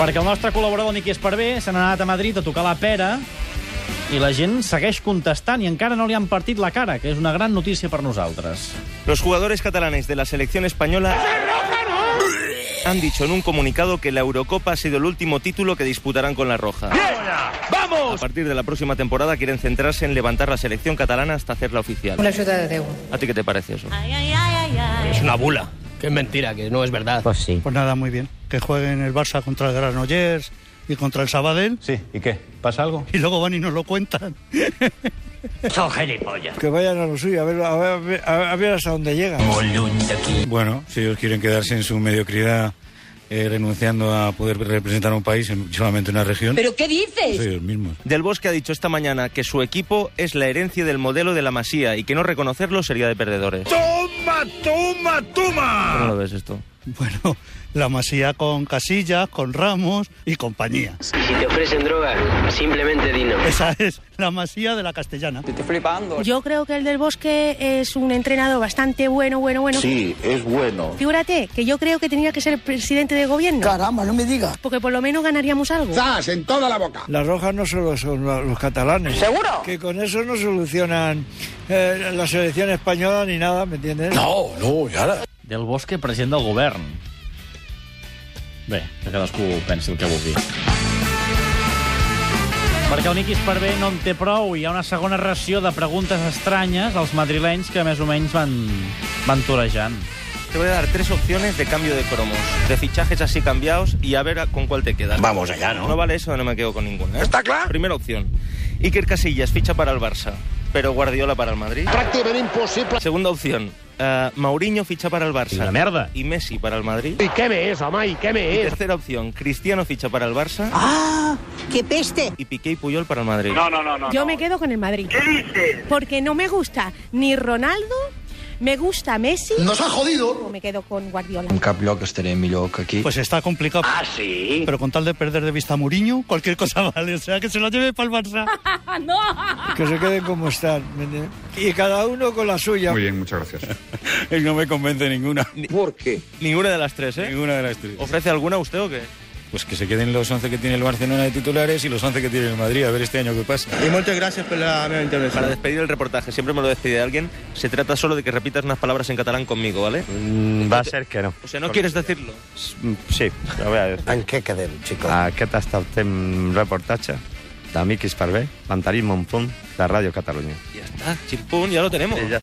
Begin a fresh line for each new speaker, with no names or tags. Perquè el nostre col·laborador Miqui Esparvé se n'ha anat a Madrid a tocar la pera i la gent segueix contestant i encara no li han partit la cara, que és una gran notícia per nosaltres.
Los jugadores catalanes de la selección española han dicho en un comunicado que la Eurocopa ha sido el último título que disputarán con la Roja. A
¡Vamos!
partir de la próxima temporada quieren centrarse en levantar la selección catalana hasta hacerla oficial.
Una ciutat de Déu.
¿A ti qué te parece eso?
Es una bula. Que es mentira, que no es verdad.
Pues sí.
Pues nada, muy bien. Que jueguen el Barça contra el Granollers y contra el Sabadell
Sí, ¿y qué? ¿Pasa algo?
y luego van y nos lo cuentan.
Son gilipollas.
Que vayan a lo suyo, a ver, a ver, a ver hasta dónde llegan.
Bueno, si ellos quieren quedarse en su mediocridad eh, renunciando a poder representar a un país, en- solamente una región,
Però què dices?
son ellos mismos.
Del Bosque ha dicho esta mañana que su equipo es la herencia del modelo de la Masía y que no reconocerlo sería de perdedores. ¡Toma, toma, toma! ¿Cómo lo ves esto?
Bueno, la Masía con Casillas, con Ramos y compañía.
Si te ofrecen droga, simplemente dino.
Esa es la Masía de la Castellana.
Yo creo que el del Bosque es un entrenador bastante bueno, bueno, bueno.
Sí, es bueno.
Figúrate que yo creo que tenía que ser presidente de gobierno.
Caramba, no me digas.
Porque por lo menos ganaríamos algo.
Las rojas no solo son lo- los catalanes. ¿Seguro? Que con eso no solucionan eh, la selección española ni nada, ¿me entiendes?
Del Bosque, president del govern. Bé, que cadascú pensi el que vulgui. Perquè el Niquis per bé no en té prou i hi ha una segona ració de preguntes estranyes als madrilenys que més o menys van, van torejant.
Te voy a dar tres opciones de cambio de cromos, de fichajes así cambiados y a ver a- con cuál te quedas.
Vamos allá,
No vale eso, no me quedo con ninguna. ¿Está claro? Primera opción. Iker Casillas ficha para el Barça, pero Guardiola para el Madrid.
Prácticamente imposible.
Segunda opción. eh, Mauriño ficha para el Barça.
Una merda.
Y Messi para el Madrid.
¿Y qué me es, mamá? ¿Y qué
Y
me
tercera opción. Cristiano ficha para el Barça.
Ah, ¡Qué peste!
Y Piqué y Puyol para el Madrid.
Yo me quedo con el Madrid. ¿Qué dices? Porque no me gusta ni Ronaldo, me gusta Messi. ¡Nos ha jodido! me quedo con Guardiola.
Pues está complicado.
¿Ah, sí?
Pero con tal de perder de vista a Muriño, cualquier cosa vale. O sea, que se lo lleve para el Barça.
Que se queden como están, ¿me entiendes? Y cada uno con la suya.
bien, muchas gracias.
no me convence ninguna,
Ninguna de las tres, ¿eh?
ninguna de las tres.
¿Ofrece alguna usted o qué?
Pues que se queden los 11 que tiene el Barcelona de titulares y los 11 que tiene el Madrid, a ver este año qué pasa.
Para despedir el reportaje, siempre me lo despide alguien, se trata solo de que repitas unas palabras en catalán conmigo, ¿vale?
Mm, Va a ser que no.
O sea, no quieres decirlo.
mm, Sí, ho veuràs.
En què quedem, xicos?
Aquest ha estat el temps reportatge d'Amic Esparvé, Pantarí Montpunt, de Ràdio Catalunya.
Ya está, chimpún, ya lo tenemos.